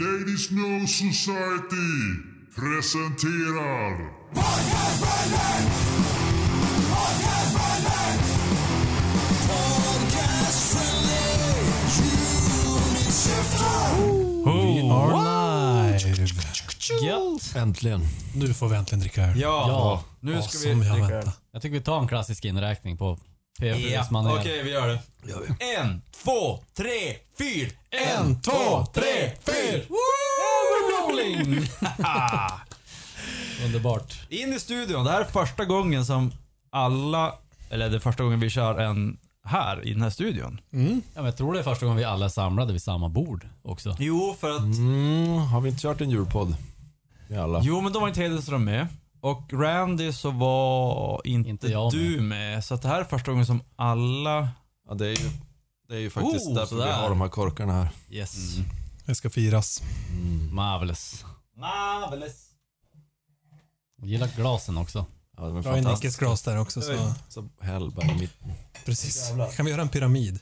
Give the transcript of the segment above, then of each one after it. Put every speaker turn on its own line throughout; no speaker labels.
Ladies No Society presenterar...
We are live!
Gött!
Äntligen. Nu får vi äntligen dricka öl.
Ja,
Ja,
nu
Vad
ska vi
som jag
dricka
väntar.
Jag tycker vi tar en klassisk inräkning på
öl.
PFUs
Ja,
manér.
okej vi gör det. En, två, tre, fyra. En, två, tre, fyra. Woo!
Bowling! Underbart.
In i studion. Det här är första gången som alla, eller det är första gången vi kör en här i den här studion.
Ja, men jag tror det är första gången vi alla är samlade vid samma bord också.
Jo, för att,
Mm, har vi inte kört en julpodd? Vi alla.
jo men då var inte Hedenström med. Och Randy så var inte,
Inte jag
du med. Så att det här är första gången som alla...
Ja, det, är ju, det är ju faktiskt
Oh,
därför vi
sådär.
har de här korkarna här.
Yes.
Mm.
Det ska firas.
Marvelous.
Marvelous.
Jag gillar glasen också.
Ja, de är
Jag har en
fantastiska.
nickelsglas där också. Så.
Så Hellberg i mitten.
Precis. Kan vi göra en pyramid?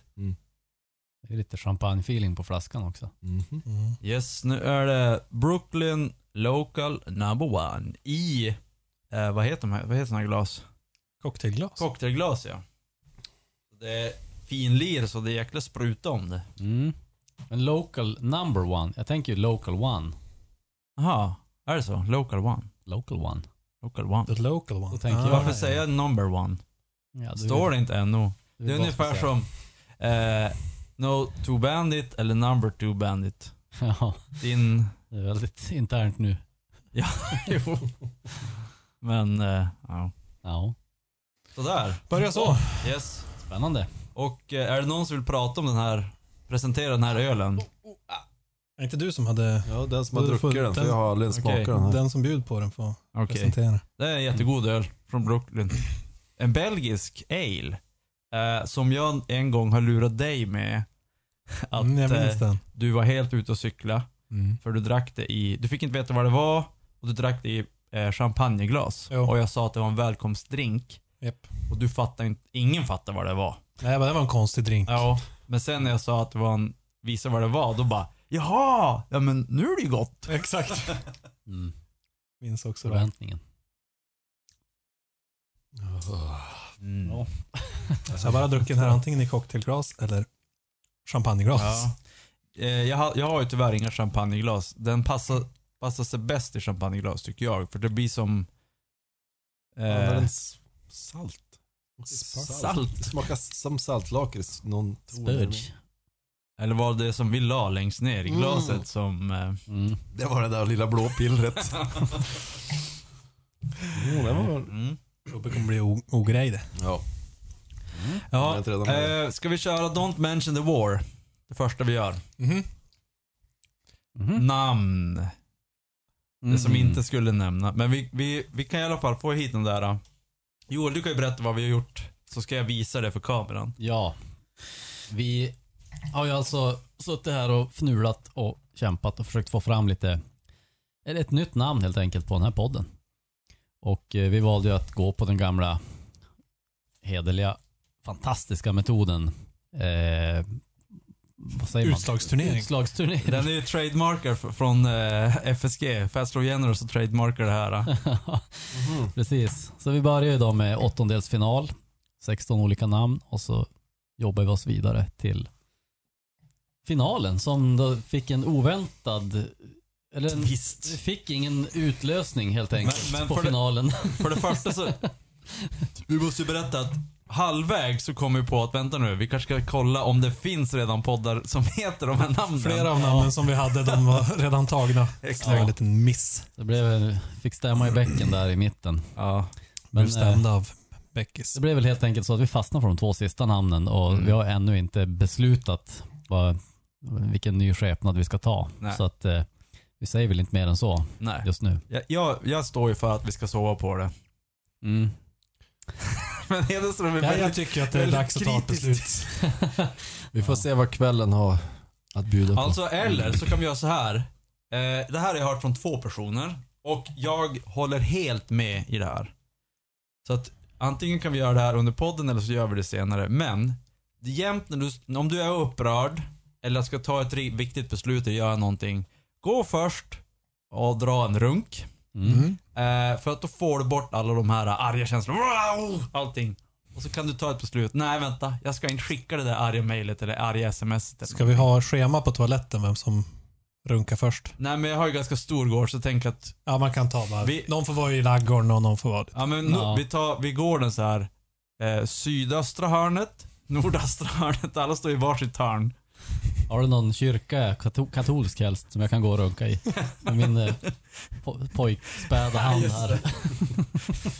Det är lite champagne-feeling på flaskan också.
Mhm.
Yes, nu är det Brooklyn Local Number One i, eh, vad heter de här, vad heter såna här glas?
Cocktailglas?
Cocktailglas ja. Det är finlir så det är jäkla spruta om det.
Mm. Men local number one. Jag tänker ju local one.
Jaha, är det så? Local One?
Local one.
Local One.
The local one. Ah,
Då tänker jag-
Varför säger jag number one?
Ja, du-
Står det inte NO?
du
Det är
bara
ungefär
speciell.
som eh, No Two Bandit eller Number Two Bandit.
Ja,
Din...
det är väldigt internt nu.
jo. Men, eh, ja.
Ja,
Sådär.
Börja så.
Yes.
spännande.
Och eh, är det någon som vill prata om den här, presentera den här ölen?
Är inte du som hade
Ja, den som har
Du får-
druckit den, för jag har aldrig
Okej.
smakat den här.
den som bjöd på den får
Okej.
presentera?
Det är en jättegod öl från Brooklyn. En belgisk ale. Eh, som jag en gång har lurat dig med. Att
Mm, jag minns
eh,
den.
du var helt ute och cykla
Mm.
För du drack det i, du fick inte veta vad det var. Och du drack det i eh, champagneglas.
Jo.
Och jag sa att det var en välkomstdrink.
Japp.
Och du fattade inte, ingen fattade vad det var.
Nej, men det var en konstig drink.
Ja. Men sen när jag sa att det var en, visa vad det var, då bara Jaha! Ja men nu är det ju gott.
Exakt.
Mm.
Minns också det.
Förväntningen.
Mm.
Ja.
Så jag har bara druckit den här antingen i cocktailglas eller champagneglas.
Ja. Eh, jag, har, jag har ju tyvärr inga champagneglas. Den passar, passar sig bäst i champagneglas tycker jag. För det blir som...
Använder
Eh,
den s- salt. Det smakar som saltlakrits. Någon ton.
Spurge.
eller var det som vi la längst ner i
Mm.
glaset som... Eh,
Mm.
Det var det där lilla blå pillret. Jo, det var...
mm.
Robbe kommer bli o- ogrej det.
Ja. Jag är
Ja,
inte redan med.
eh, ska vi köra Don't mention the war? Det första vi gör.
Mhm.
Mhm.
Namn. Det som vi
Mm.
inte skulle nämna. Men vi, vi, vi kan i alla fall få hit den där. eh. Joel, du kan ju berätta vad vi har gjort. Så ska jag visa det för kameran.
Ja. Vi har ju alltså suttit här och fnulat och kämpat och försökt få fram lite, eller ett nytt namn helt enkelt på den här podden. Och eh, vi valde ju att gå på den gamla hederliga, fantastiska metoden. Eh, vad säger man?
Utslagsturnering.
Utslagsturnering.
Den är ju trademarker f- från eh, FSG. Fast Row General så trademarkar det här. eh. Mm-hmm.
Precis. Så vi börjar ju då med åttondelsfinal, 16 olika namn och så jobbar vi oss vidare till finalen som då fick en oväntad eller en,
Twist.
vi fick ingen utlösning helt enkelt
Men- men
på
för det-
finalen.
För det första så... Vi måste ju berätta att halvväg så kom vi på att vänta nu, vi kanske ska kolla om det finns redan poddar som heter de här namnen.
Flera av namnen som vi hade, de var redan tagna.
Exakt.
Det var en liten miss.
Det blev, fick stämma i bäcken där i mitten.
Ja.
Men, eh,
Blev stämd av Beckis.
Det blev väl helt enkelt så att vi fastnade för de två sista namnen och
Mm.
vi har ännu inte beslutat vad, vilken ny skepnad vi ska ta.
Nej.
Så att eh, vi säger väl inte mer än så
Nej.
just nu.
Jag, jag, jag står ju för att vi ska sova på det. Men Hedenström är
Ja,
väldigt...
Mm. jag tycker att det är
väldigt
dags att ta ett
kritiskt.
beslut.
Vi får se vad kvällen har att bjuda på.
Alltså eller så kan vi göra så här. Eh, det här har jag hört från två personer och jag håller helt med i det här. Så att antingen kan vi göra det här under podden eller så gör vi det senare. Men det är jämt när du, om du är upprörd eller ska ta ett ri- viktigt beslut eller göra någonting. Gå först och dra en runk.
Mm.
Eh, för att då får du bort alla de här arga känslorna. Wow! Allting. Och så kan du ta ett beslut. Nej, vänta. Jag ska inte skicka det där arga mejlet eller arga smset. Eller
Ska vi ha schema på toaletten vem som runkar först?
Nej, men jag har ju ganska stor gård så jag tänker att
Ja, man kan ta bara.
Vi-
Någon får vara i laggården och någon får vara
Ja men
Ja.
no, vi tar, vi går den så här eh, sydöstra hörnet, nordöstra hörnet, alla står i varsitt hörn.
Har du någon kyrka, kato- katolsk helst, som jag kan gå och runka i? Med min eh, po- pojkspäda hand här.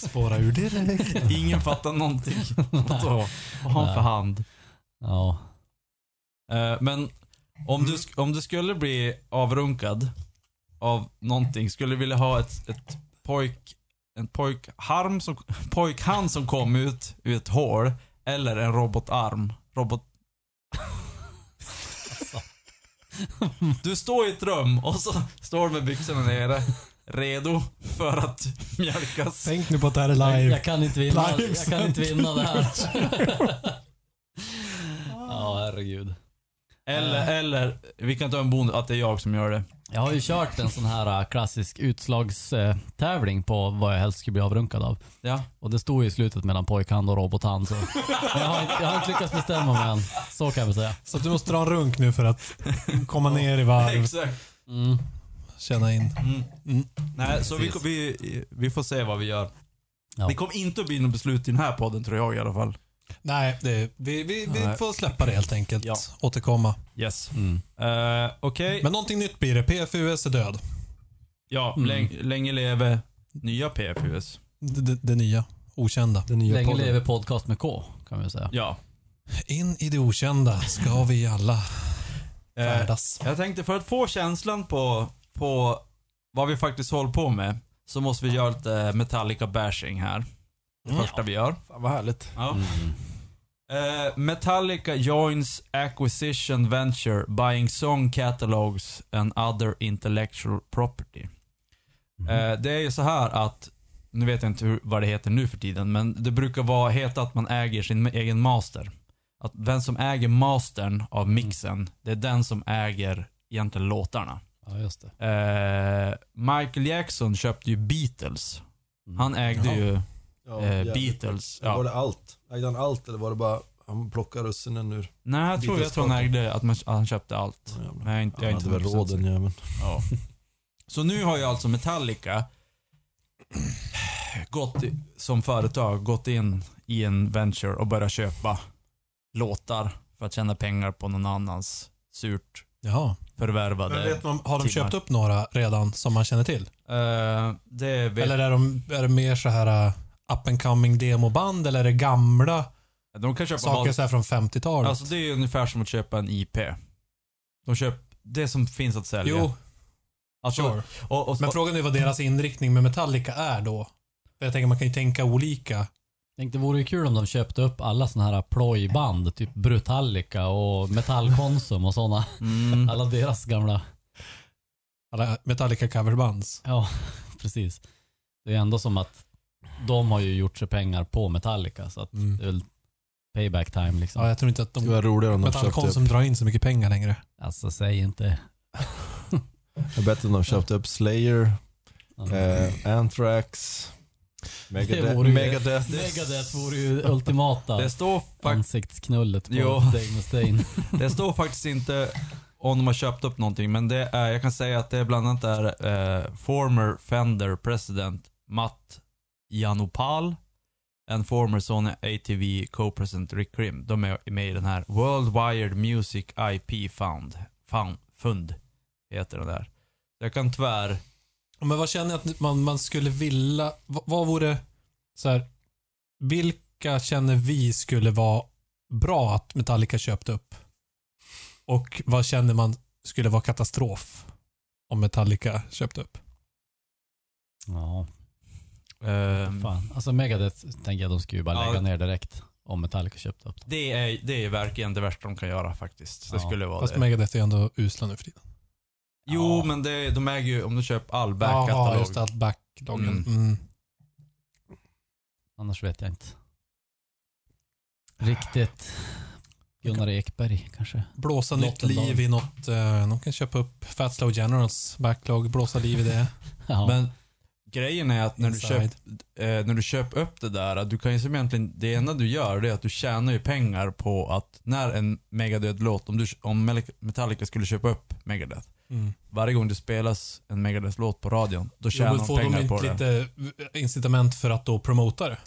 Spåra ur direkt.
Ingen fattar någonting. Vadå? Vad har han för hand?
Ja.
Eh, men om du, sk- om du skulle bli avrunkad av någonting, skulle du vilja ha ett, ett pojk, en pojkharm som, pojkhand som kom ut ur ett hål eller en robotarm? Robot... Du står i ett rum och så står du med byxorna nere, redo för att mjölkas.
Tänk nu på att det här är
Jag,
live.
jag, kan inte vinna,
Live
jag kan inte vinna det här. Ja, herregud.
Eller, eller, vi kan ta en bonus, att det är jag som gör det.
Jag har ju kört en sån här eh, klassisk utslagstävling på vad jag helst skulle bli avrunkad av.
Ja.
Och det stod ju i slutet mellan pojkhand och robothand. Så. Jag, har inte, jag har inte lyckats bestämma mig än. Så kan vi säga.
Så att du måste dra en runk nu för att komma ner i varv,
Exakt.
Mm.
känna in.
Nej, så vi,
Precis.
vi, vi får se vad vi gör.
Ja.
Det kommer inte att bli något beslut i den här podden tror jag i alla fall.
Nej, det, vi, vi, vi
Nej.
får släppa det helt enkelt.
Ja.
Återkomma.
Yes.
Mm.
Uh, Okej.
Men någonting nytt blir det. PFUS är död.
Ja,
Mm.
läng, länge leve nya PFUS.
Det, det, det nya. Okända.
Den nya
Länge
podden.
lever podcast med K, kan vi säga.
Ja.
In i det okända ska vi alla
Eh,
färdas.
jag tänkte för att få känslan på, på vad vi faktiskt håller på med så måste vi göra lite Metallica bashing här. Det
Mm.
första vi gör.
Fan vad härligt.
Ja.
Mm.
Eh, Metallica joins acquisition venture buying song catalogs and other intellectual property.
Mm.
Eh, det är ju så här att, nu vet jag inte hur, vad det heter nu för tiden, men det brukar vara, heta att man äger sin egen master. Att vem som äger mastern av
Mm.
mixen, det är den som äger egentligen låtarna.
Ja, just det.
Eh, Michael Jackson köpte ju Beatles.
Mm.
Han ägde
Jaha.
ju
Ja,
eh,
jävligt.
Beatles.
Men
Ja.
Var det allt? Ägde han allt eller var det bara han plockade russinen ur?
Nej, jag tror, jag tror han ägde att, man, att han köpte allt.
Ja, jävlar.
Nej, jag är inte,
Han
jag är
hade
inte
väl
100%
råd den jäveln.
Ja. Så nu har ju alltså Metallica gått i- som företag gått in i en venture och börjat köpa låtar för att tjäna pengar på någon annans surt
Jaha. Men
förvärvade.
vet man, har de
timmar.
köpt upp några redan som man känner till?
Eh, det vet,
Eller är, de, är det mer så här uh, up and coming demoband eller är det gamla
de kan köpa
saker
vad,
så här från 50-talet?
Alltså det är ju ungefär som att köpa en IP. De köper det som finns att sälja.
jo,
alltså,
sure.
och, och,
Men
och,
frågan är vad deras inriktning med Metallica är då. För jag tänker man kan ju tänka olika.
Tänkte det vore ju kul om de köpte upp alla såna här plojband, typ Brutallica och Metallkonsum och såna.
mm,
Alla deras gamla,
Alla Metallica coverbands.
ja precis. Det är ju ändå som att de har ju gjort sig pengar på Metallica så att
Mm.
det är väl payback time liksom.
Ja, jag tror inte att
Det
de
var roligare om de köpte upp.
Metallkonsum drar in så mycket pengar längre.
Alltså säg
Eh.
inte.
Det är bättre om de köpte upp Slayer,
Alltså,
eh, Anthrax,
Det
Megadeth.
vore ju-
Megadeth.
Megadeth vore ju ultimata
det står
Mm.
faktiskt
ansiktsknullet på
Jo.
Dave Mustaine.
Det står faktiskt inte om de har köpt upp någonting, men det är, jag kan säga att det är bland annat är eh, former Fender president Matt Janopal and former Sony ATV co-president Rick Krim. De är med i den här World Wired Music IP Fund. Fund, fund heter den där. Jag kan tyvärr...
Men vad känner jag att man, man skulle vilja, vad, vad vore, så här, vilka känner vi skulle vara bra att Metallica köpte upp? Och vad känner man skulle vara katastrof om Metallica köpte upp?
Ja,
ehm,
fan. Alltså Megadeth tänker jag de skulle ju bara
Ja.
lägga ner direkt om Metallica köpte upp dem.
det, är, det är verkligen det värsta de kan göra faktiskt. Det
Ja,
skulle vara
Fast
det.
Megadeth är ändå usla nu för tiden.
Jo,
Ja.
men det, de äger ju, om du köper all
Jaha,
backkatalog.
just det, allt backloggen.
Mm.
Mm.
Annars vet jag inte. Riktigt. Gunnar Ekberg kanske.
Blåsa nytt
Lottendal.
liv i något. eh, De kan köpa upp Fatslow Generals backlog, blåsa liv i det.
Ja.
Men grejen är att när du,
Inside.
köp, eh, när du köper upp det där, att du kan ju som egentligen, det enda du gör det är att du tjänar ju pengar på att när en Megadöd-låt, om, du, om Mel- Metallica skulle köpa upp Megadeth,
Mm.
varje gång det spelas en Megadeth-låt på radion, då
Jo,
tjänar
men
de
får de
pengar på
inte
det.
lite incitament för att då promota det?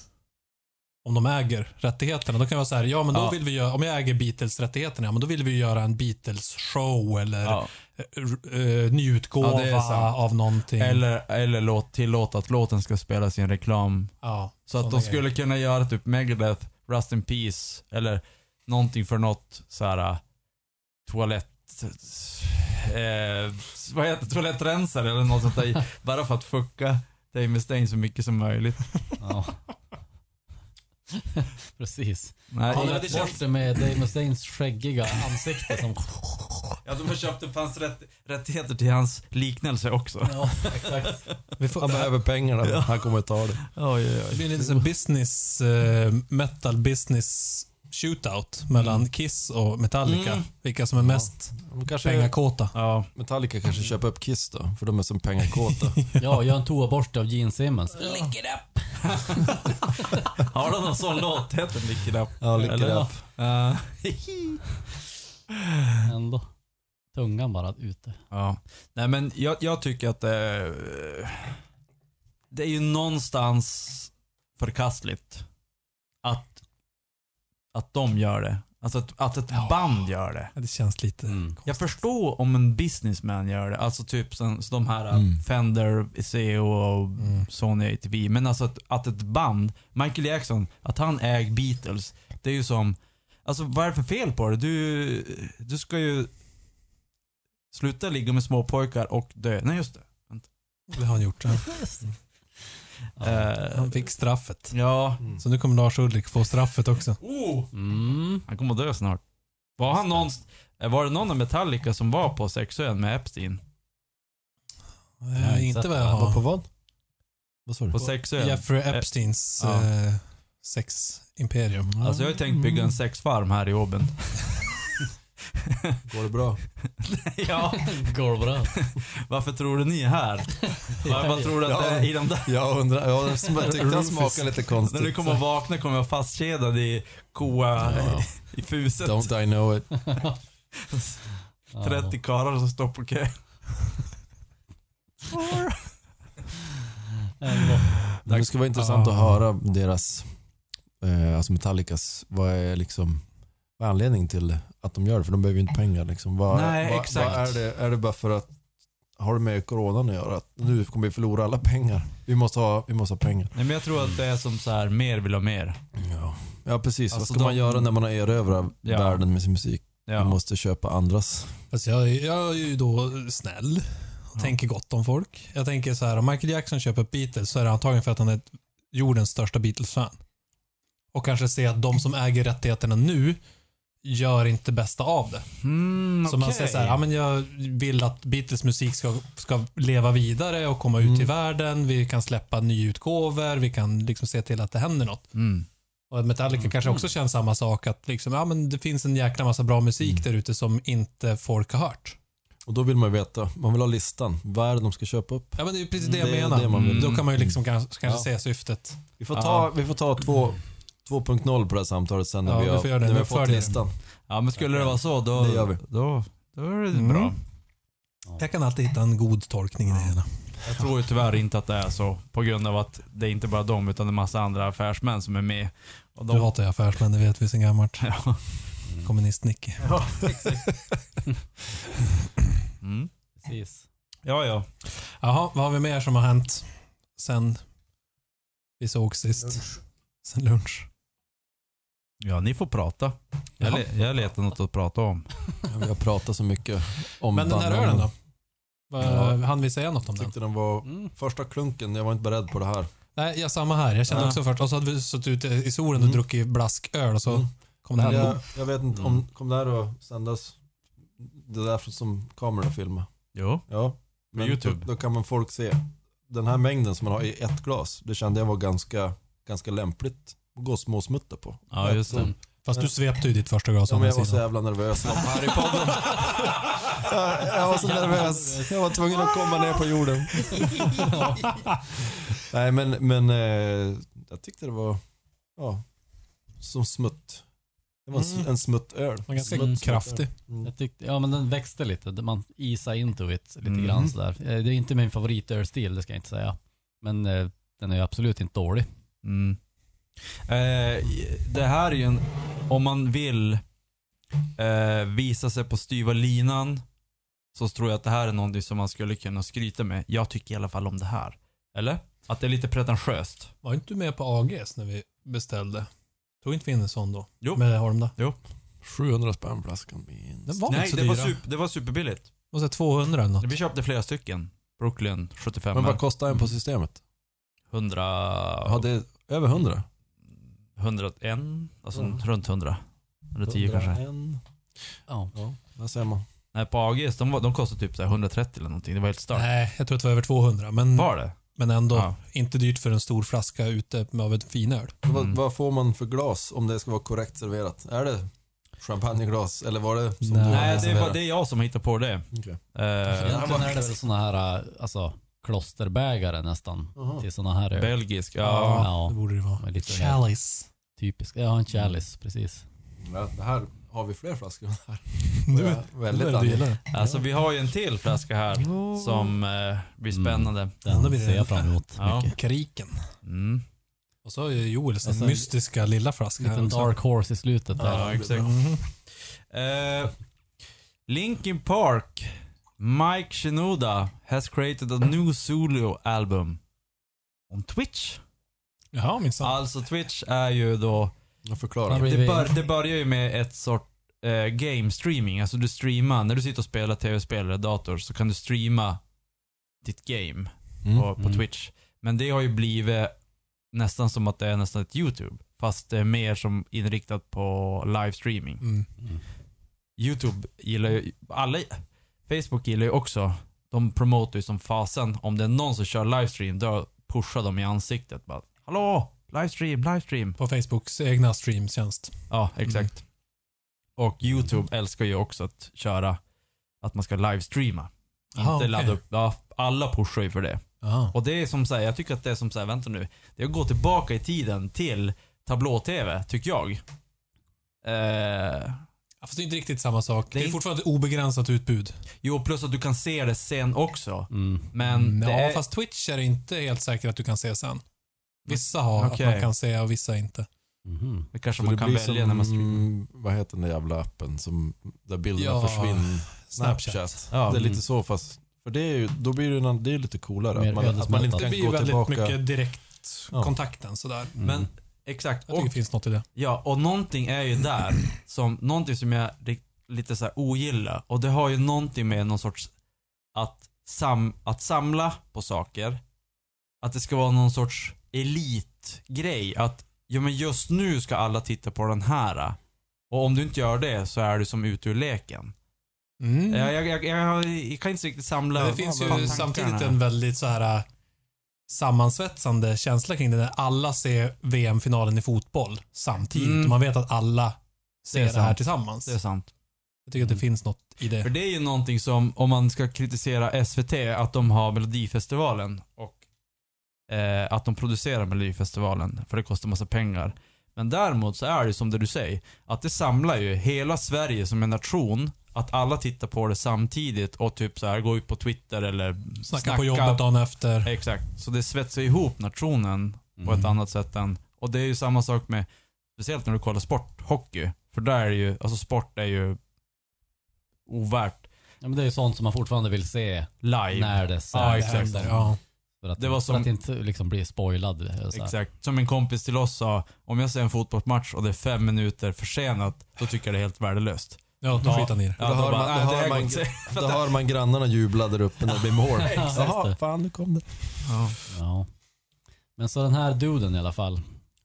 Om de äger rättigheterna. Då kan det vara så här, ja men då
Ja.
vill vi göra, om jag äger Beatles-rättigheterna, ja men då vill vi göra en Beatles-show eller
Ja.
eh, eh, nyutgåva
Ja, det är sant.
av någonting.
Eller, eller låt, tillåta att låten ska spelas i en reklam.
ja,
Så att
sådana
de skulle kunna göra typ Megadeth, Rust in Peace eller någonting för något såhär äh, toalett... Eh, vad heter det? Toalettrensare eller något sånt där. Bara för att fucka Dave Mustaine så mycket som möjligt.
Ja. Precis.
Nej,
Han
det
har
känns-
gett bort det med Dave Mustaines skäggiga ansikte som...
ja, de har köpt upp hans rätt, rättigheter till hans liknelse också.
Ja, exakt.
grejer. Vi får,
Han behöver pengarna. Han kommer ta det.
Oj, oj,
Det
oj.
blir en liten business, eh, metal business shootout mellan Kiss och Metallica.
Mm.
Vilka som är mest
De Kanske,
pengakåta.
Ja.
Metallica kanske köper upp Kiss då, för de är som pengakåta.
Ja, gör en toaborste av Gene Simmons. Lick it up!
Har de någon sån låt? Heter den Lick It Up?
Ja, lycka
Eller,
upp.
Eh,
Ändå. Tungan bara ute.
Ja. Nej men jag, jag tycker att eh, det är ju någonstans förkastligt att, att de gör det. Alltså att, att ett
Ja.
band gör det.
Ja, Det känns lite...
Jag förstår om en businessman gör det. Alltså typ som, som de här eh,
Mm.
Fender, CEO och
Mm.
Sony ATV. Men alltså att, att ett band, Michael Jackson, att han äger Beatles. Det är ju som, alltså vad är det för fel på det? Du, du ska ju sluta ligga med små pojkar och dö. Nej just det.
Det har han gjort. Han-
Eh,
Han fick straffet.
ja.
Så nu kommer Lars Ulrik få straffet också.
Mm. Oh.
Mm.
Han kommer att dö snart. Var, han någon, eh, var det någon av Metallica som var på sexön med Epstein?
Eh,
Ja,
inte
exakt.
vad jag
Vad på
har.
vad? Vad sa du?
På sexön?
Jeffrey Epsteins
Ja.
eh, seximperium.
Alltså jag har ju tänkt bygga en sexfarm här i Åben.
Går det bra?
ja,
Går bra.
varför tror du ni är här? Vad vad tror du att det är i de där?
Jag undrar. Jag tyckte han smakade lite
När du
konstigt.
kommer att vakna kommer jag vara fastkedjad i koa,
Ja.
i fuset.
Don't I know it.
30 karlar som står på kö.
Ja, ändå.
Men det skulle vara intressant
Ah.
att höra deras, eh, alltså Metallicas, vad är liksom vad är anledningen till att de gör det? För de behöver ju inte pengar. Liksom. Vad,
Nej,
vad,
exakt.
Vad är, det, är det bara för att, har det med coronan att göra? Att nu kommer vi förlora alla pengar. Vi måste ha, vi måste ha pengar.
Nej men jag tror att det är som så här, mer vill ha mer.
Ja, ja precis. vad
Alltså,
ska man
de-
göra när man har erövrat
Ja.
världen med sin musik? Man
Ja. Mm,
måste köpa andras.
Fast jag, är- jag är ju då snäll och
Ja.
tänker gott om folk. Jag tänker så här, om Michael Jackson köper upp Beatles så är det antagligen för att han är ett- jordens största Beatles-fan. Och kanske se att de som äger rättigheterna nu gör inte bästa av det.
Mm,
Så man
okej.
säger så här, ja men jag vill att Beatles musik ska, ska leva vidare och komma ut
Mm.
i världen. Vi kan släppa nyutgåvor, vi kan liksom se till att det händer något.
Mm.
Och Metallica kanske
Mm.
också känner samma sak, att liksom, ja men det finns en jäkla massa bra musik
Mm.
där ute som inte folk har hört.
Och då vill man ju veta, man vill ha listan. Vad är det de ska köpa upp?
Ja, men det är ju precis det jag
Det är
menar.
det man vill. Mm.
Då kan man ju liksom kanske, kanske
Ja.
se syftet.
Vi får ta, vi får ta två- 2.0 på det här samtalet sen när
Ja,
vi
du
har,
får göra det.
när vi har
Jag
fått
följer det.
listan.
Ja men skulle det vara så då,
Det gör vi.
då, då är det
Mm.
bra.
Jag kan alltid hitta en god tolkning i det hela.
Jag tror ju tyvärr inte att det är så. På grund av att det är inte bara de utan det är massa andra affärsmän som är med. Och
Du
de,
hatar ju affärsmän, det vet vi sen gammalt. Kommunist-Nicke.
mm.
Precis.
Ja, ja.
Jaha, vad har vi mer som har hänt sen vi såg sist? Sen lunch.
Ja, ni får prata. Jag, le- jag letar något att prata om.
Ja, Vi har pratat så mycket om
Men den här
bandvagnen.
ölen då? Ja.
Ja.
Han vi säga något om
Jag
den?
tyckte den var
Mm.
första klunken, jag var inte beredd på det här.
Nej, ja, samma här. Jag kände
Ja.
också först. Och så hade vi suttit ute i solen och
Mm.
druckit blasköl och så
Mm.
kom det här. Mm.
jag, jag vet inte, om, kom det här att sändas? Det där som kameran filmar.
Jo.
Ja. Men
YouTube.
Då, då kan man folk se. Den här mängden som man har i ett glas, det kände jag var ganska, ganska lämpligt att gå och småsmutta på.
Ja, just det.
Fast du svepte ju ditt första glas å
Ja, men
andra
jag var så
sidan.
jävla nervös om Harry-podden. jag, jag var så nervös. Jag var tvungen att komma ner på jorden. Nej, men, men eh, jag tyckte det var ja, som smutt. Det var en sm-
Mm.
en smuttöl.
Den var ganska
Smutt-
kraftig.
Mm.
Jag tyckte, ja men den växte lite. Man isa into it lite
Mm.
grann sådär. Eh, Det är inte min favoritölstil, det ska jag inte säga. Men eh, den är ju absolut inte dålig.
Mm. Eh, det här är ju en, om man vill eh, visa sig på styva linan så tror jag att det här är någonting som man skulle kunna skryta med. Jag tycker i alla fall om det här. Eller? Att det är lite pretentiöst.
Var inte du med på AGs när vi beställde? Tog inte vi in en sån då?
Jo.
Med Holmda?
700 spänn flaskan vin.
Den var
Nej,
inte så
det var,
dyra.
super, det var superbilligt.
Och så här 200 eller något.
Vi köpte flera stycken. Brooklyn 75.
Men vad kostar en på systemet?
100...
Ja, det är över 100.
101? Alltså
Mm.
runt 100. Eller 10 kanske.
101.
Ja.
Ja, där ser man.
Nej, på AGs, de, var- de kostade typ så här 130 eller någonting. Det var helt stört.
Nej, jag tror att det var över 200. Men,
Var det?
men ändå
Ja.
inte dyrt för en stor flaska ute med av ett finöl.
Vad, vad får man för glas om det ska vara korrekt serverat? Är det champagneglas eller var alltså, det som
Nej.
du
Nej,
hade
det, var,
serverat?
det är jag som hittar på det.
Okej.
Eh,
Egentligen är det väl såna här, eh, alltså klosterbägare nästan.
Jaha.
Till såna här öl.
Belgisk, ja.
Ja.
Det borde det vara.
Men lite mer
Chalice.
Typisk. Ja, en
Mm.
chalice, precis.
Ja, det här har vi fler flaskor än det här.
Du,
Jag är väldigt
du gillar
angelägen.
det.
Alltså vi har ju en till flaska här som eh, blir
Mm.
spännande.
Den
Ändå blir det-
ser jag fram emot
Ja.
mycket.
Kriken.
Mm.
Och så har ju Joel sin
Alltså,
mystiska lilla flaska här
Liten
också.
dark horse i slutet där.
Ja, exakt. Eh, Linkin Park, Mike Shinoda has created a new solo album. On Twitch.
Jaha, minsann.
Alltså Twitch är ju då,
Jag
Ja,
förklarar.
men-
det, bör, det börjar ju med ett sort eh, game streaming. Alltså du streamar, när du sitter och spelar tv-spel eller dator så kan du streama ditt game.
Mm.
på, på
Mm.
Twitch. Men det har ju blivit nästan som att det är nästan ett YouTube. Fast det är mer som inriktat på livestreaming.
Mm.
YouTube gillar ju, alla, Facebook gillar ju också, de promotar ju som fasen. Om det är någon som kör livestream, då pushar de i ansiktet. Bara, Hallå! Livestream, livestream.
På Facebooks egna streamtjänst.
Ja,
Mm.
exakt. Och YouTube älskar ju också att köra, att man ska livestreama. Inte
Aha, okej.
ladda upp, ja, alla pushar ju för det.
Jaha.
Och det är som säger, jag tycker att det är som säger, vänta nu. Det är att gå tillbaka i tiden till tablå-tv, tycker jag. Eh,
Ja, fast det är inte riktigt samma sak.
Det
Det
är
är,
inte-
fortfarande ett obegränsat utbud.
jo, plus att du kan se det sen också.
Mm.
Men det
ja,
är,
fast Twitch är det inte helt säkert att du kan se sen. Vissa har
Okej.
att man kan se och vissa inte.
Mhm.
det kanske
Så det
man kan
blir
välja när man streamar.
som, vad heter den där jävla appen som, där bilderna
Ja,
försvinner?
Snapchat.
Ja,
det är
mm.
lite så fast, för det är ju, då blir det, en, det är lite coolare.
Mer
Att man, att man inte
Det
ödesmättat.
kan
blir
gå
ju väldigt
tillbaka.
mycket
Ja.
direktkontakten sådär.
Men exakt.
Mm. Jag tycker
Och,
det finns något i det.
ja, och någonting är ju där, som, någonting som jag ri- lite så här ogillar. Och det har ju någonting med någon sorts, att, sam, att samla på saker. Att det ska vara någon sorts elitgrej. Att ja men just nu ska alla titta på den här. Och om du inte gör det så är du som ute ur leken.
Mm.
Jag, jag, jag, jag, jag kan inte riktigt samla
Men det finns ju
tankarna.
samtidigt en väldigt så här äh, sammansvetsande känsla kring det när alla ser VM-finalen i fotboll samtidigt.
Mm.
Och man vet att alla
Det är
ser det, här
sant.
tillsammans.
Det är sant.
Jag tycker att det finns något i
För
det.
det är ju någonting som, om man ska kritisera SVT, att de har Melodifestivalen och eh, att de producerar Melodifestivalen, för det kostar massa pengar. Men däremot så är det som det du säger, att det samlar ju hela Sverige som en nation, att alla tittar på det samtidigt och typ så här går ut på Twitter eller
Snacka, på jobbet dagen efter.
Exakt. Så det svetsar ihop nationen på ett annat sätt än... Och det är ju samma sak med, speciellt när du kollar sport, hockey. För där är det ju, alltså sport är ju ovärt
Ja, men det är ju sånt som man fortfarande vill se
live.
när det
Ja,
Det
sänds.
exakt.
händer, Ja.
För att,
Det var
för
som-
att inte liksom bli spoilad. eller så här.
Exakt. Som en kompis till oss sa, om jag ser en fotbollsmatch och det är fem minuter försenat, då tycker jag det är helt värdelöst.
ja, då
Ja.
skiter han i det.
Ja,
Då hör
bara,
man- då
"Nej,
hör
här
man-
går inte."
Då hör man grannarna jubla där uppe när det blir mål. Jaha,
det.
fan nu kom det.
Ja.
Ja. Men så den här duden i alla fall.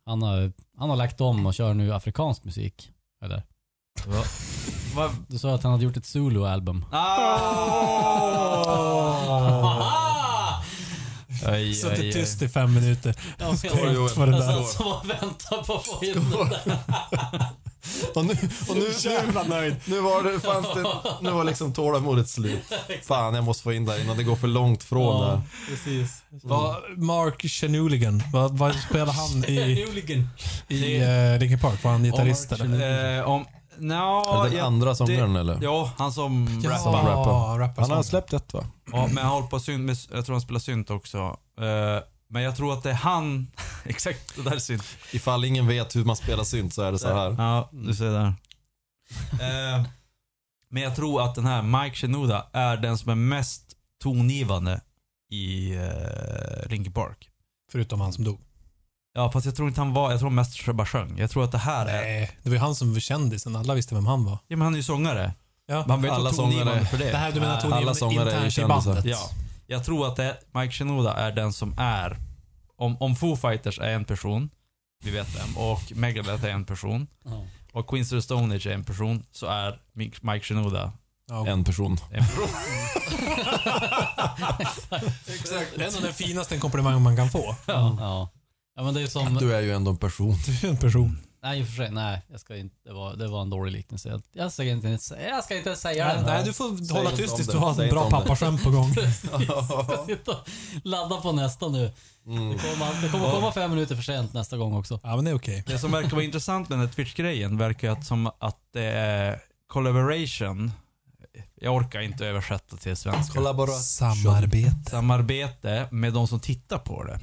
Han har, han har lagt om och kör nu afrikansk musik. Eller?
Va?
Du sa att han hade gjort ett solo-album.
Ah! Aj, aj, aj.
Suttit tyst Alltså, i fem minuter.
Ja,
Tänkt vad det där.
som att vänta på att få in den där.
Och nu, och nu, nu, nu var det, fanns det, nu var liksom tålamodet slut. Fan, jag måste få in där innan det går för långt från
Ja,
där.
precis. Va, Mark Chenuligan, vad va spelar han i,
Hooligan.
i eh, Linkin Park? Var han gitarrist eller?
Eh, om... Nja,
Är det den
ja,
andra sångaren eller?
ja, han som rappar.
bara rappar.
rappar
Han har
sång.
släppt ett va?
Ja, men han håller på synt, med, jag tror han spelar synt också. Eh, men jag tror att det är han, exakt det där är synt.
Ifall ingen vet hur man spelar synt så är det så här.
Ja, du ser där. Eh, men jag tror att den här Mike Shinoda är den som är mest tongivande i eh, Linkin Park.
Förutom han som dog.
Ja, fast jag tror inte han var, jag tror han mest bara sjöng. Jag tror att det här är,
Nej, det var ju han som var kändisen. Alla visste vem han var.
ja men han är ju sångare.
Ja.
Man blir
Alla
så tongivande
sångare.
för det.
Det här du menar Tony,
Alla sångare är ju
internt i
kändisar.
bandet.
Ja. Jag tror att det, Mike Shinoda är den som är, om, om Foo Fighters är en person, vi vet vem, och Megadeth är en person,
Ja.
och Queens of the Stone Age är en person, så är Mike Mike Shinoda
Ja.
En person.
en person.
Exakt. Det är nog den finaste komplimang man kan få.
Ja. ja. Ja men det är som...
Du är ju ändå en person.
Du är en person.
Nej i och för sig, nej. Jag ska inte, det, var, det var en dålig liknelse. Jag, jag, ska, inte, ens- jag ska inte säga
Nej,
den.
nej, du får
Säg
hålla
inte
tyst
om
tills
det.
du har
Säg
en
inte
bra
om det.
pappaskämt på gång.
Jag ska sitta och ladda på nästa nu. Det kommer, det kommer komma fem minuter för sent nästa gång också.
Ja, men det är okej.
Det som verkar vara intressant med den här Twitch-grejen verkar ju att som att det är collaboration. Jag orkar inte översätta till svenska.
Samarbete.
Samarbete med de som tittar på det.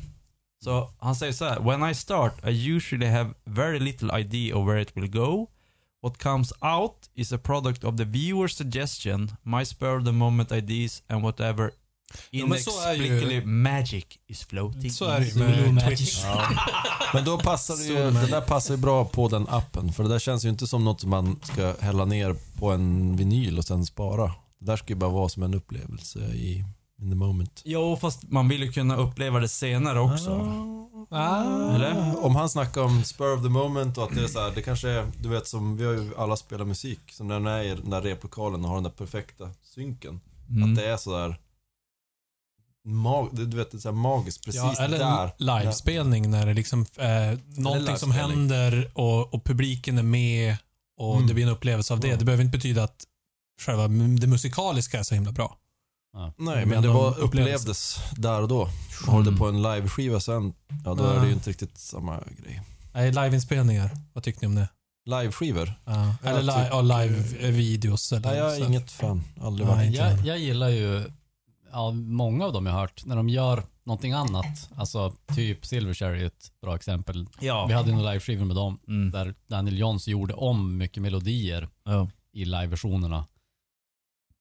Så han säger så här. When I start I usually have very little idea of where it will go. What comes out is a product of the viewer's suggestion, my spur of the moment ideas and whatever
men så är ju-
inexplicably magic is floating
Så är det ju
Zulu
med
Magic.
Twitch.
Men då passar det ju, det där passar ju bra på den appen. För det där känns ju inte som något som man ska hälla ner på en vinyl och sen spara. Det där ska ju bara vara som en upplevelse i in the moment.
Jo, fast man vill ju kunna uppleva det senare också.
Ah.
Eller?
Om han snackar om spur of the moment och att det är så här, det kanske är, du vet som, vi har ju alla spelat musik, som när den är i den där replokalen och har den där perfekta synken.
Mm.
Att det är så där mag, du vet, det är så här magiskt precis
Ja, eller en
där.
livespelning när det liksom eh, någonting som
livespelning.
händer och, och publiken är med och
Mm.
det blir en upplevelse av det.
Mm.
Det behöver inte betyda att själva m- det musikaliska är så himla bra.
Nej,
Men
men det
de
var,
upplevdes.
upplevdes där och då. Har
Mm.
du det på en liveskiva sen, ja då är det ju inte riktigt samma grej.
Nej, liveinspelningar. Vad tyckte ni om det?
Liveskivor?
Ja.
Jag
eller li-
tycker-
ja, live-videos eller
Nej, jag
så.
är inget fan. Aldrig
Nej,
varit.
inte
Jag, jag gillar ju ja, många av dem jag har hört när de gör någonting annat. Alltså typ Silverchair är ju ett bra exempel. Vi
Ja.
hade ju en liveskiva med dem
Mm.
där Daniel Johns gjorde om mycket melodier
Ja.
i liveversionerna.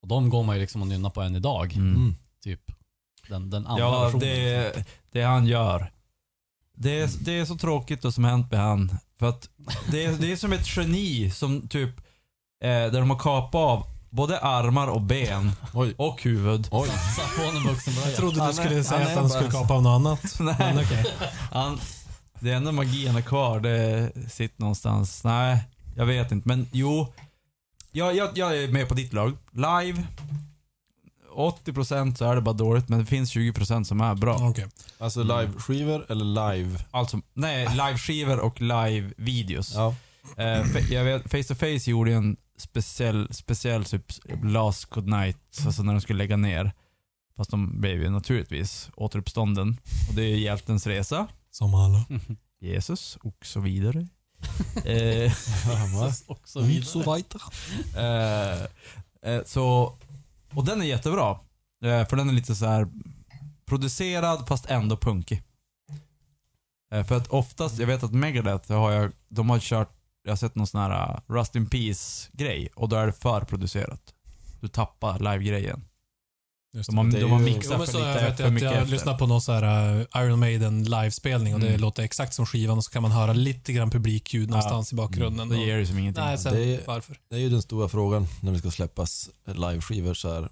Och de går man ju liksom och nynnar på än idag.
Mm.
Mm.
Typ den, den andra
ja,
versionen.
det, det han gör. Det är, det är så tråkigt vad som hänt med han. För att det är, det är som ett geni som typ, eh, där de har kapat av både armar och ben
Oj.
och huvud.
Oj.
Satt på en vuxenblöja.
Jag trodde
Han
du
är-
skulle säga
han är
att han
bara-
skulle kapa av något annat. Men okej.
Han, det enda magin är kvar, det sitter någonstans. Nej, jag vet inte. Men jo. Jag, jag, jag är med på ditt lag. Live. 80% så är det bara dåligt, men det finns 20% som är bra.
Okej.
Alltså liveskivor eller live?
Alltså, nej, liveskivor och live-videos.
Ja.
Eh, fe- jag vet, Face to Face gjorde ju en speciell, speciell typ Last Good Night, alltså när de skulle lägga ner. Fast de blev ju naturligtvis återuppstånden. Och det är hjältens resa,
Som alla.
Jesus och så vidare. eh,
Mm.
Och så vidare.
weiter.
eh, eh, så, och den är jättebra. Eh, för den är lite så här producerad fast ändå punkig. Eh, för att oftast, jag vet att Megadeth har jag, de har kört, jag har sett någon sån här eh, Rust in Peace grej och då är det för producerat. Du tappar live-grejen. De har,
det är
de har
ju-
Jo,
mixat
men så
för
jag
lite,
vet
för
att
mycket
jag
efter.
lyssnade på någon så här eh, Iron Maiden livespelning och det
Mm.
låter exakt som skivan och så kan man höra lite grann publikljud någonstans i bakgrunden.
Mm, Det
Och-
ger ju som ingenting.
Nej, sen
Det-
varför?
Det är ju den stora frågan när det ska släppas liveskivor så här.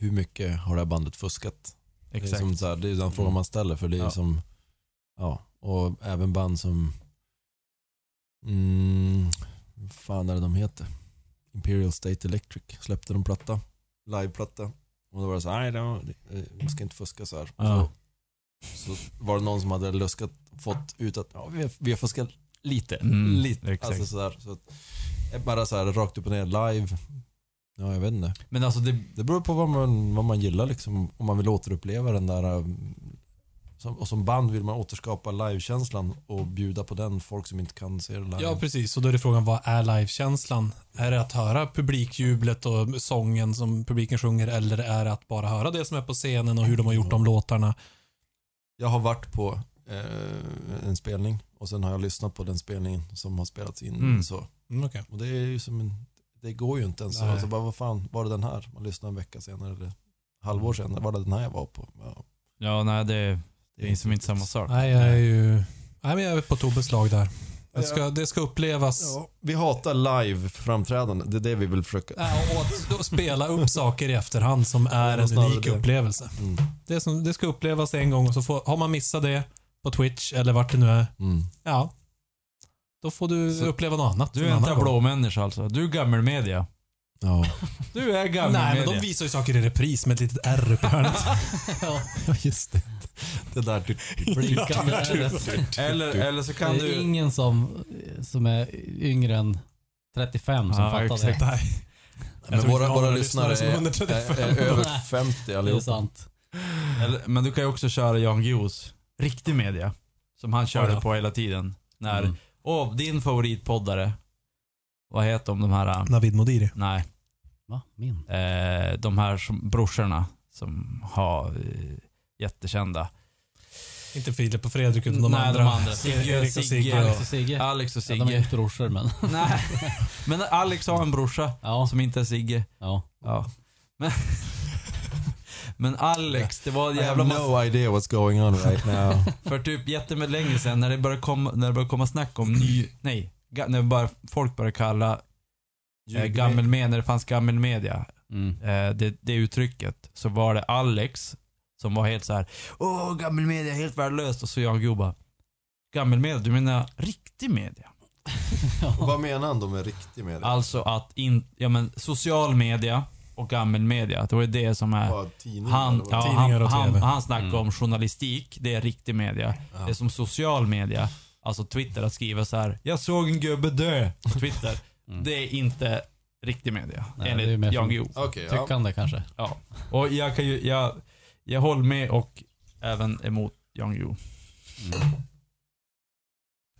Hur mycket har det här bandet fuskat? Det är,
Exakt. Mm.
som så här, det är den frågan man ställer för det är
Ja.
som, ja, och även band som, mm, vad fan är det de heter? Imperial State Electric släppte de platta, liveplatta. Och då var det så här, nej, det var- eh, man ska inte fuska så här.
Ja.
Så, så var det någon som hade luskat, fått ut att ja, vi, har, vi har fuskat lite,
Mm,
lite.
exakt.
Alltså så här, så att, Bara så här rakt upp och ner live. Ja, jag vet inte.
Men alltså det,
Det beror på vad man, vad man gillar liksom. Om man vill återuppleva den där... um, Som, och som band vill man återskapa livekänslan och bjuda på den folk som inte kan se det live.
Ja, precis. Och då är det frågan, vad är livekänslan? Är det att höra publikjublet och sången som publiken sjunger eller är det att bara höra det som är på scenen och hur de har gjort de låtarna?
Jag har varit på eh, en spelning och sen har jag lyssnat på den spelningen som har spelats in.
Mm.
Så.
Mm, okej.
Och det är ju som en, Det går ju inte ens.
Nej.
Alltså bara, vad fan, var det den här? Man lyssnar en vecka senare eller halvår senare. Var det den här jag var på? Ja,
ja nej det, det är liksom inte samma sak.
Nej, jag är ju... Nej, men jag är på Tobbes lag där. Det ska, det ska upplevas.
Ja, vi hatar live-framträdande. Det är det vi vill försöka.
Ja, Äh, och att då spela upp saker i efterhand som är en
snarare
unik
det.
upplevelse.
Mm.
Det, som, det ska upplevas en gång och så får, har man missat det på Twitch eller vart det nu är,
Mm.
ja. Då får du
Så-
uppleva något annat.
Du
en
är en
annan gång.
tablåmänniska alltså. Du är gammelmedia.
Ja.
Du är
Nej,
gammelmedia.
men de visar ju saker i repris med ett litet R uppe i hörnet.
Ja, just det. Det där du,
Blinkande ögat.
eller, eller så kan
det är
du...
ingen som, som är yngre än 35 som
Ja,
fattar
exakt.
det.
Nej. tror
Men
inte
våra,
vi har
våra
några
lyssnare
lyssnare som är under
är,
35.
är, är över
Nej.
50
Det är
allihopa.
sant.
Eller, men du kan ju också köra Jan Guillous riktig media. Som han körde
Ja, ja.
på hela tiden. När,
Mm.
åh, din favoritpoddare. Vad heter de, de här? äh,
Navid Modiri.
Nej,
Va? Min?
eh, de här som, brorsorna som har eh, jättekända.
Inte Filip och Fredrik, utan de
Nej,
andra.
de andra. Sigge,
Erik och
Sigge
Sigge.
Alex
och-
och Sigge? Ja,
Alex och
de är ju
Sigge.
inte brorsor men.
Nej, men Alex har en brorsa
Ja,
som inte är Sigge.
ja.
Ja. Men, men Alex, det var en
I have
jävla massa
no idea what's going on right now.
För typ jättelänge sedan när det började komma, när det började komma snack om ny, nej, ga, när bara, folk började kalla eh, gammelmedia, när det fanns gammelmedia,
Mm.
eh, det, det uttrycket, så var det Alex som var helt så här: åh gammelmedia är helt värdelöst och så jag och Gio bara, gammelmedia, du menar riktig media?
Och Vad menar han då med riktig media?
Alltså att in, ja men social media och gammelmedia, det var ju det som är
Bara tidningar
Han,
eller
ja,
vad?
han,
Tidningar och
han,
TV.
han snackar
Mm.
om journalistik, det är riktig media.
Ja.
Det är som social media, alltså Twitter, att skriva så här. Jag såg en gubbe dö på Twitter.
Mm.
Det är inte riktig media,
Nej, det är mer
enligt Jan
för-
Guillou.
Okej, ja.
Tyckande kanske.
Och jag kan ju, jag, jag håller med och även emot Jan Guillou.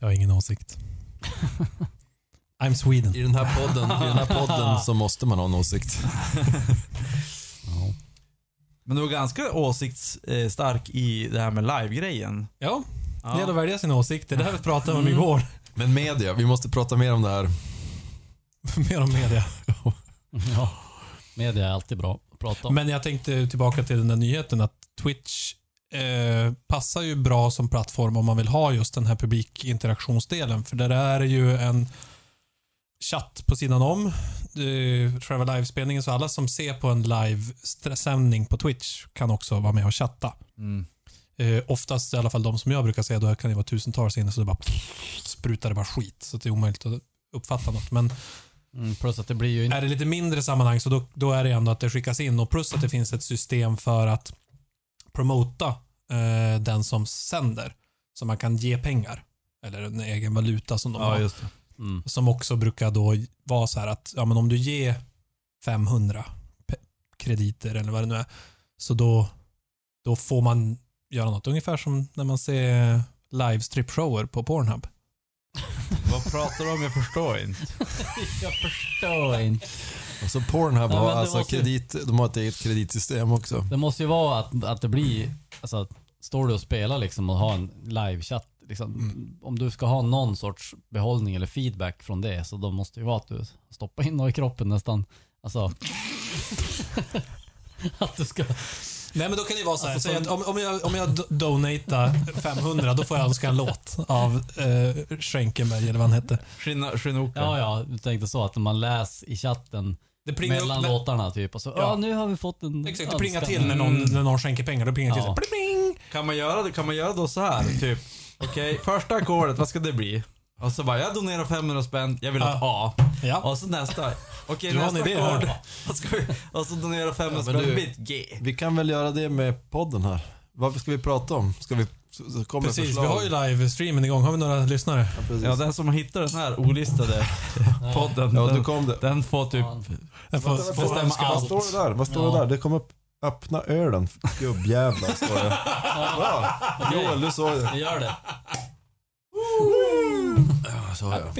Jag har ingen åsikt. I'm Sweden.
I den här podden, i den här podden så måste man ha en åsikt.
Men du var ganska åsiktsstark i det här med live-grejen.
Ja,
Ja.
det är att välja sina åsikter. Det här vi pratade om igår.
Men media, vi måste prata mer om det här.
Mer om media.
Ja. Media är alltid bra att prata om.
Men jag tänkte tillbaka till den där nyheten att Twitch eh, passar ju bra som plattform om man vill ha just den här publikinteraktionsdelen. För där är det ju en chatt på sidan om. Eh, Själva livespelningen, så alla som ser på en livesändning på Twitch kan också vara med och chatta.
Mm.
Eh, oftast, i alla fall de som jag brukar se, då kan det vara tusentals inne så det bara sprutar det bara skit. Så det är omöjligt att uppfatta något. Men
Mm, plus att det blir ju inte...
är det lite mindre sammanhang så då, då är det ändå att det skickas in och plus att det finns ett system för att promota eh, den som sänder. Så man kan ge pengar. Eller en egen valuta som de har.
Ja, just det.
Mm.
Som också brukar då vara så här att ja, men om du ger 500 pe- krediter eller vad det nu är. Så då, då får man göra något. Ungefär som när man ser live stripshower på Pornhub.
Vad pratar du om? Jag förstår inte.
Jag förstår inte.
Och så Pornhub
Ja,
har
men det
alltså
måste ju-
kredit, de har ett eget kreditsystem också.
Det måste ju vara att, att det blir, alltså att står du och spelar liksom och har en livechatt, liksom, om du ska ha någon sorts behållning eller feedback från det så då måste det ju vara att du stoppar in något i kroppen nästan. Alltså. att du ska...
Nej men då kan det vara så här,
Alltså,
säg
som-
att om, om jag, om jag do- donatar 500 då får jag önska en låt av eh, Schenkenberg eller vad han hette.
Shinno- Shinooka.
Ja, ja, du tänkte så att man läs i chatten
Det
mellan låtarna typ och så, ja
Ja.
nu har vi fått en
Exakt, det plingar
önskan."
till när någon, när någon skänker pengar. Då plingar det
Ja.
till så här, pling, pling.
Kan man göra det? Kan man göra då så här? Typ, okej, första ackordet, vad ska det bli? Och så bara, jag donerar 500 spänn, jag vill ha ett A.
Ja.
Och så nästa, okej
Du har en
nästa
idé här.
ackord. vad ska vi- Och så donerar 500
Ja, men
spänn,
du-
bit G.
Vi kan väl göra det med podden här. Vad ska vi prata om? Ska vi så, så kommer
Precis, vi
förslag.
har ju livestreamen igång. Har vi några lyssnare?
Ja, precis.
Ja, den som hittar den här olistade podden,
ja, då
den,
kom det.
den får typ...
Jag får,
Vänta,
får
vänta,
stämma
Vad
allt.
står det där? Vad står det
Ja.
där? Det kommer upp. Öppna ölen, gubbjävlar, står det. Bra!
Okej.
Joel, du sa det.
Vi gör det.
Ja, så har jag.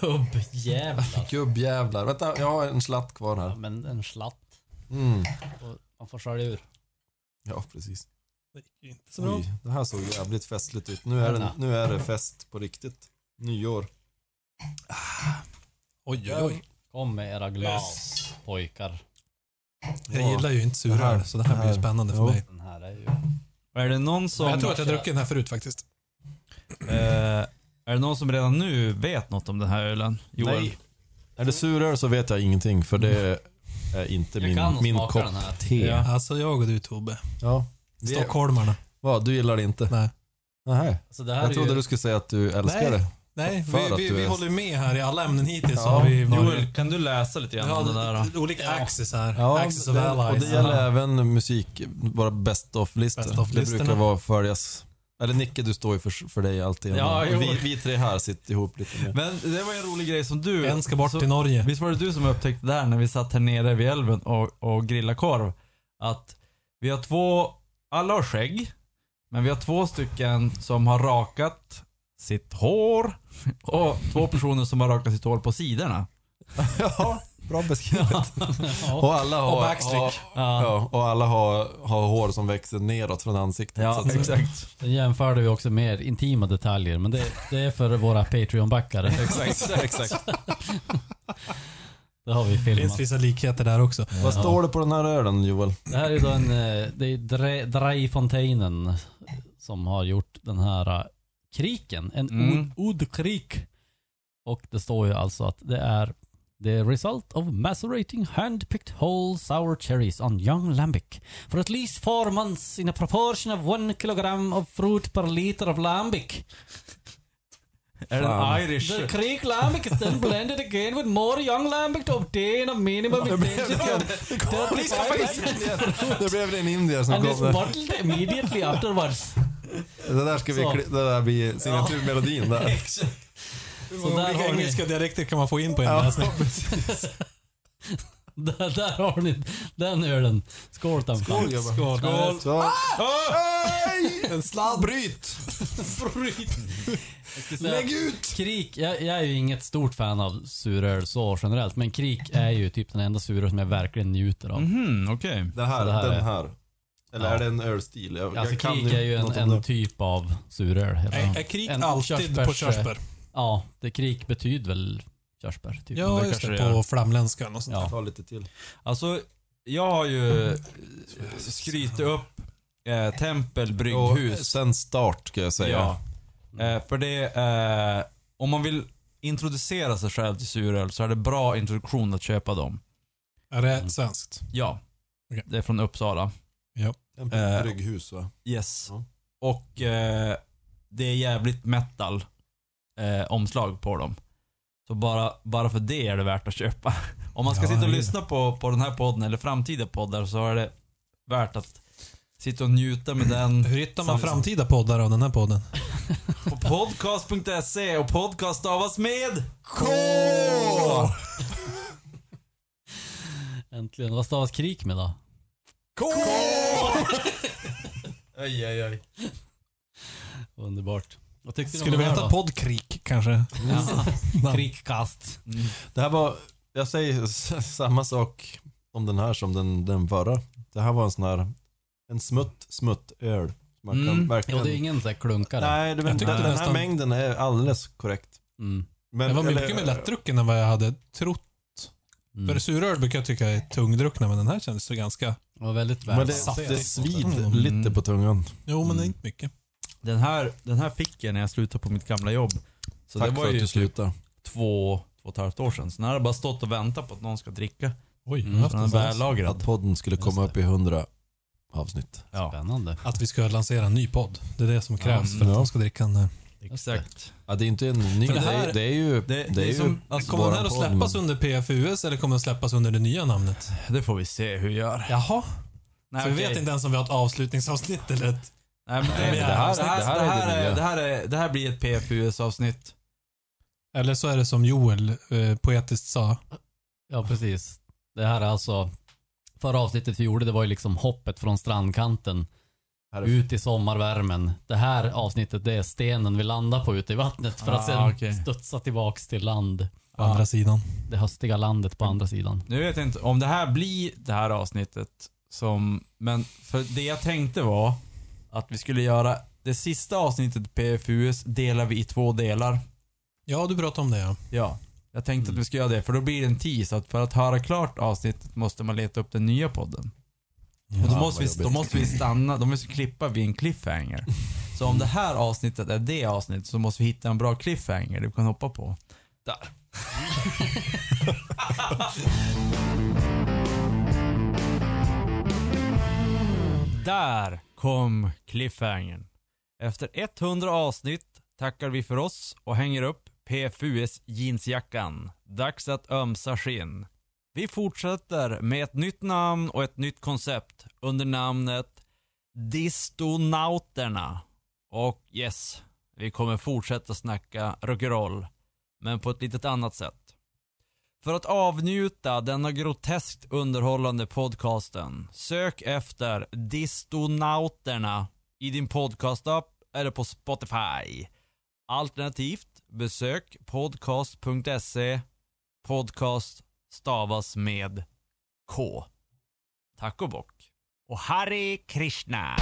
Gubbjävlar.
Gubbjävlar. Vänta, jag har en slatt kvar
Ja,
här.
men en slatt.
Mm.
Och man får skölja ur.
Ja, precis.
Inte så bra.
Oj, det här såg jävligt festligt ut. Nu är, det, nu är det fest på riktigt. Nyår.
Oj, oj, oj.
Kom med era glas pojkar.
Jag gillar ju inte
Det här-
suröl, så det här blir ju
här.
spännande för
Jo.
mig.
Den här är ju...
Är det någon som...
Jag tror att jag har druckit den här förut faktiskt.
Eh, är det någon som redan nu vet något om den här ölen? Joel?
Nej. Är det suröl så vet jag ingenting för det är inte
Jag
min,
kan
min
smaka
kopp
den här.
te.
Ja.
Alltså jag och du Tobbe.
Ja. Vi-
Stockholmarna.
Vad, du gillar det inte?
Nej.
Nej.
Alltså det här
Jag
är
trodde
ju...
du skulle säga att du
Nej.
älskar det.
Nej,
För
vi,
att
vi,
du
vi
är-
håller ju med här i alla ämnen hittills.
Ja.
så har vi varit-
Joel, kan du läsa lite grann om den där?
Ja,
då?
olika axis här. axis of
det, och
allies.
det gäller även musik, våra best
Best
of-listor.
of
Det
listorna.
brukar vara följas. Eller Nicke, du står ju för, för dig alltid.
Ja, jo.
vi, vi tre här sitter ihop lite mer.
Men det var ju en rolig grej som du...
En ska bort
så-
till Norge.
Visst var det du som upptäckte det här när vi satt här nere vid älven och, och grillade korv? Att vi har två, alla har skägg, men vi har två stycken som har rakat sitt hår och två personer som har rakat sitt hår på sidorna.
ja, bra beskrivet. och alla har,
Och backstick.
har, ja, och alla har, har hår som växer neråt från ansiktet. så
Ja,
att säga.
exakt.
Sen jämförde vi också mer intima detaljer, men det, det är för våra Patreon-backare.
Exakt, exakt.
Det har vi
Det finns
filmat.
vissa likheter där också.
Vad står det på den här ölen Joel?
Det här är då en, eh, det är Dre- Dreifonteinen som har gjort den här eh, kriken. En
Mm.
mm. ordkrik. Och det står ju alltså att det är the result of macerating hand-picked whole sour cherries on young lambic for at least four months in a proportion of one kilogram of fruit per liter of lambic.
Är det
Fan.
en irish?
The creek lambic is then blended again with more young lambic to obtain a minimum intention of 35%
Det blev en indier som
and is
kom. där.
bottled immediately afterwards.
Det där ska vi,
Så.
kli- det där blir signaturmelodin där.
Så där
Olika
har ni,
engelska dialekter kan man få in på en
Ja,
läsning.
där, där har ni den ölen. Skål Tampan.
Skål gubbar.
Skål.
Skål. Så.
En sladd.
Bryt! Lägg ut!
Krik, jag, jag är ju inget stort fan av suröl så generellt, men krik är ju typ den enda suröl som jag verkligen njuter
Mm.
av.
Mhm, okej.
Det här,
Så det här
den
är-
här. Eller
Ja.
är det en ölstil? Jag,
Alltså
jag kan
krik är ju en,
något om
en
det.
typ av suröl. helt
Är,
enkelt.
är krig
En
alltid på körsbär?
Ja, det krik betyder väl körsbär typ.
Ja,
det
just
kanske
det.
det gör.
På flamländska och sånt.
Ja.
Ta lite till.
Alltså, jag har ju eh, skrytit upp eh, Tempel
Och eh,
brygghus.
sen start ska jag säga.
Ja. Eh, för det, eh, om man vill introducera sig själv till suröl så är det bra introduktion att köpa dem.
Är det svenskt?
Ja.
Okej.
Det är från Uppsala.
En
Eh.
brygghus va?
Yes.
Ja.
Och eh, det är jävligt metal eh, omslag på dem. Så bara, bara för det är det värt att köpa. Om man ska
Ja,
sitta och
ja.
lyssna på, på den här podden eller framtida poddar så är det värt att sitta och njuta med den
Hur hittar man
Som-
framtida poddar av den här podden?
på podcast.se och podcast stavas med K!
Äntligen. Vad stavas krik med då?
K!
Aj, aj, aj. Underbart. Vad tyckte
Skulle vi heta poddkrik kanske?
podd? Krikkast.
Det här var, jag säger s- samma sak om den här som den, den förra. Det här var en sån här, en smutt, smutt öl. Man kan
Mm.
verkligen...
Jo, det är ingen sån här klunkare.
Nej, det,
Jag
men,
tyckte
den här
nästan-
mängden är alldeles korrekt.
Mm.
Men,
Det var mycket
eller-
mer lättdrucken än vad jag hade trott.
Mm.
För suröl brukar jag tycka är tungdruckna, men den här kändes så ganska...
Det var väldigt
Men
väl.
det, det svider
Mm.
lite på tungan.
Jo, men
Mm.
inte mycket.
Den här, den här fick jag när jag slutade på mitt gamla jobb. Så
Tack
det var
för att
ju
du
typ
slutade.
två, två och ett halvt år sedan. Så den här har bara stått och väntat på att någon ska dricka.
Oj,
Mm.
jag har haft
Så den är
en sån.
Att
vällagrad.
podden skulle
Just
komma
det.
upp i 100 avsnitt.
Ja,
Spännande.
Att vi ska lansera en ny podd. Det är det som krävs
Mm.
för att
Ja.
de ska dricka eh, den här.
exakt.
Ja, det är inte en ny.
För
Det,
det
är,
här-
det är ju...
Det,
det är ju
som,
Alltså,
alltså,
kommer den här
våran
att
podd,
släppas
men-
under PFUS eller kommer den släppas under det nya namnet?
det får vi se hur vi gör.
Jaha,
Nej,
så vi
okej.
vet inte ens om vi har ett avslutningsavsnitt eller ett
Nej, men det,
Nej, men
det, här, det, här, det, här,
är det
är,
nya.
det, här är, det här blir ett PFUS-avsnitt.
Eller så är det som Joel eh, poetiskt sa.
Ja, precis. Det här är alltså, förra avsnittet vi gjorde det var ju liksom hoppet från strandkanten
Här är-
ut i sommarvärmen. Det här avsnittet det är stenen vi landar på ute i vattnet för att
Ah,
sen
okej.
studsa tillbaks till land.
På andra sidan.
Det höstiga landet på andra sidan.
Nu vet jag inte om det här blir det här avsnittet som... Men för det jag tänkte var att vi skulle göra det sista avsnittet PFUS delar vi i två delar.
Ja, du pratade om det ja.
Ja. Jag tänkte att vi ska göra det för då blir det en tease att för att höra klart avsnittet måste man leta upp den nya podden. Och då,
Ja,
måste
vad
vi, då
jobbigt.
måste vi stanna, då måste vi klippa vid en cliffhanger. Så om det här avsnittet är det avsnittet så måste vi hitta en bra cliffhanger du kan hoppa på. Där. Där kom cliffhangern. Efter 100 avsnitt tackar vi för oss och hänger upp PFUS jeansjackan. Dags att ömsa skinn. Vi fortsätter med ett nytt namn och ett nytt koncept under namnet Distonauterna. Och yes, vi kommer fortsätta snacka rock'n'roll, men på ett litet annat sätt. För att avnjuta denna groteskt underhållande podcasten, sök efter Distonauterna i din podcastapp eller på Spotify. Alternativt besök podcast.se podcast stavas med K. Tack och bock. Och Hare Krishna!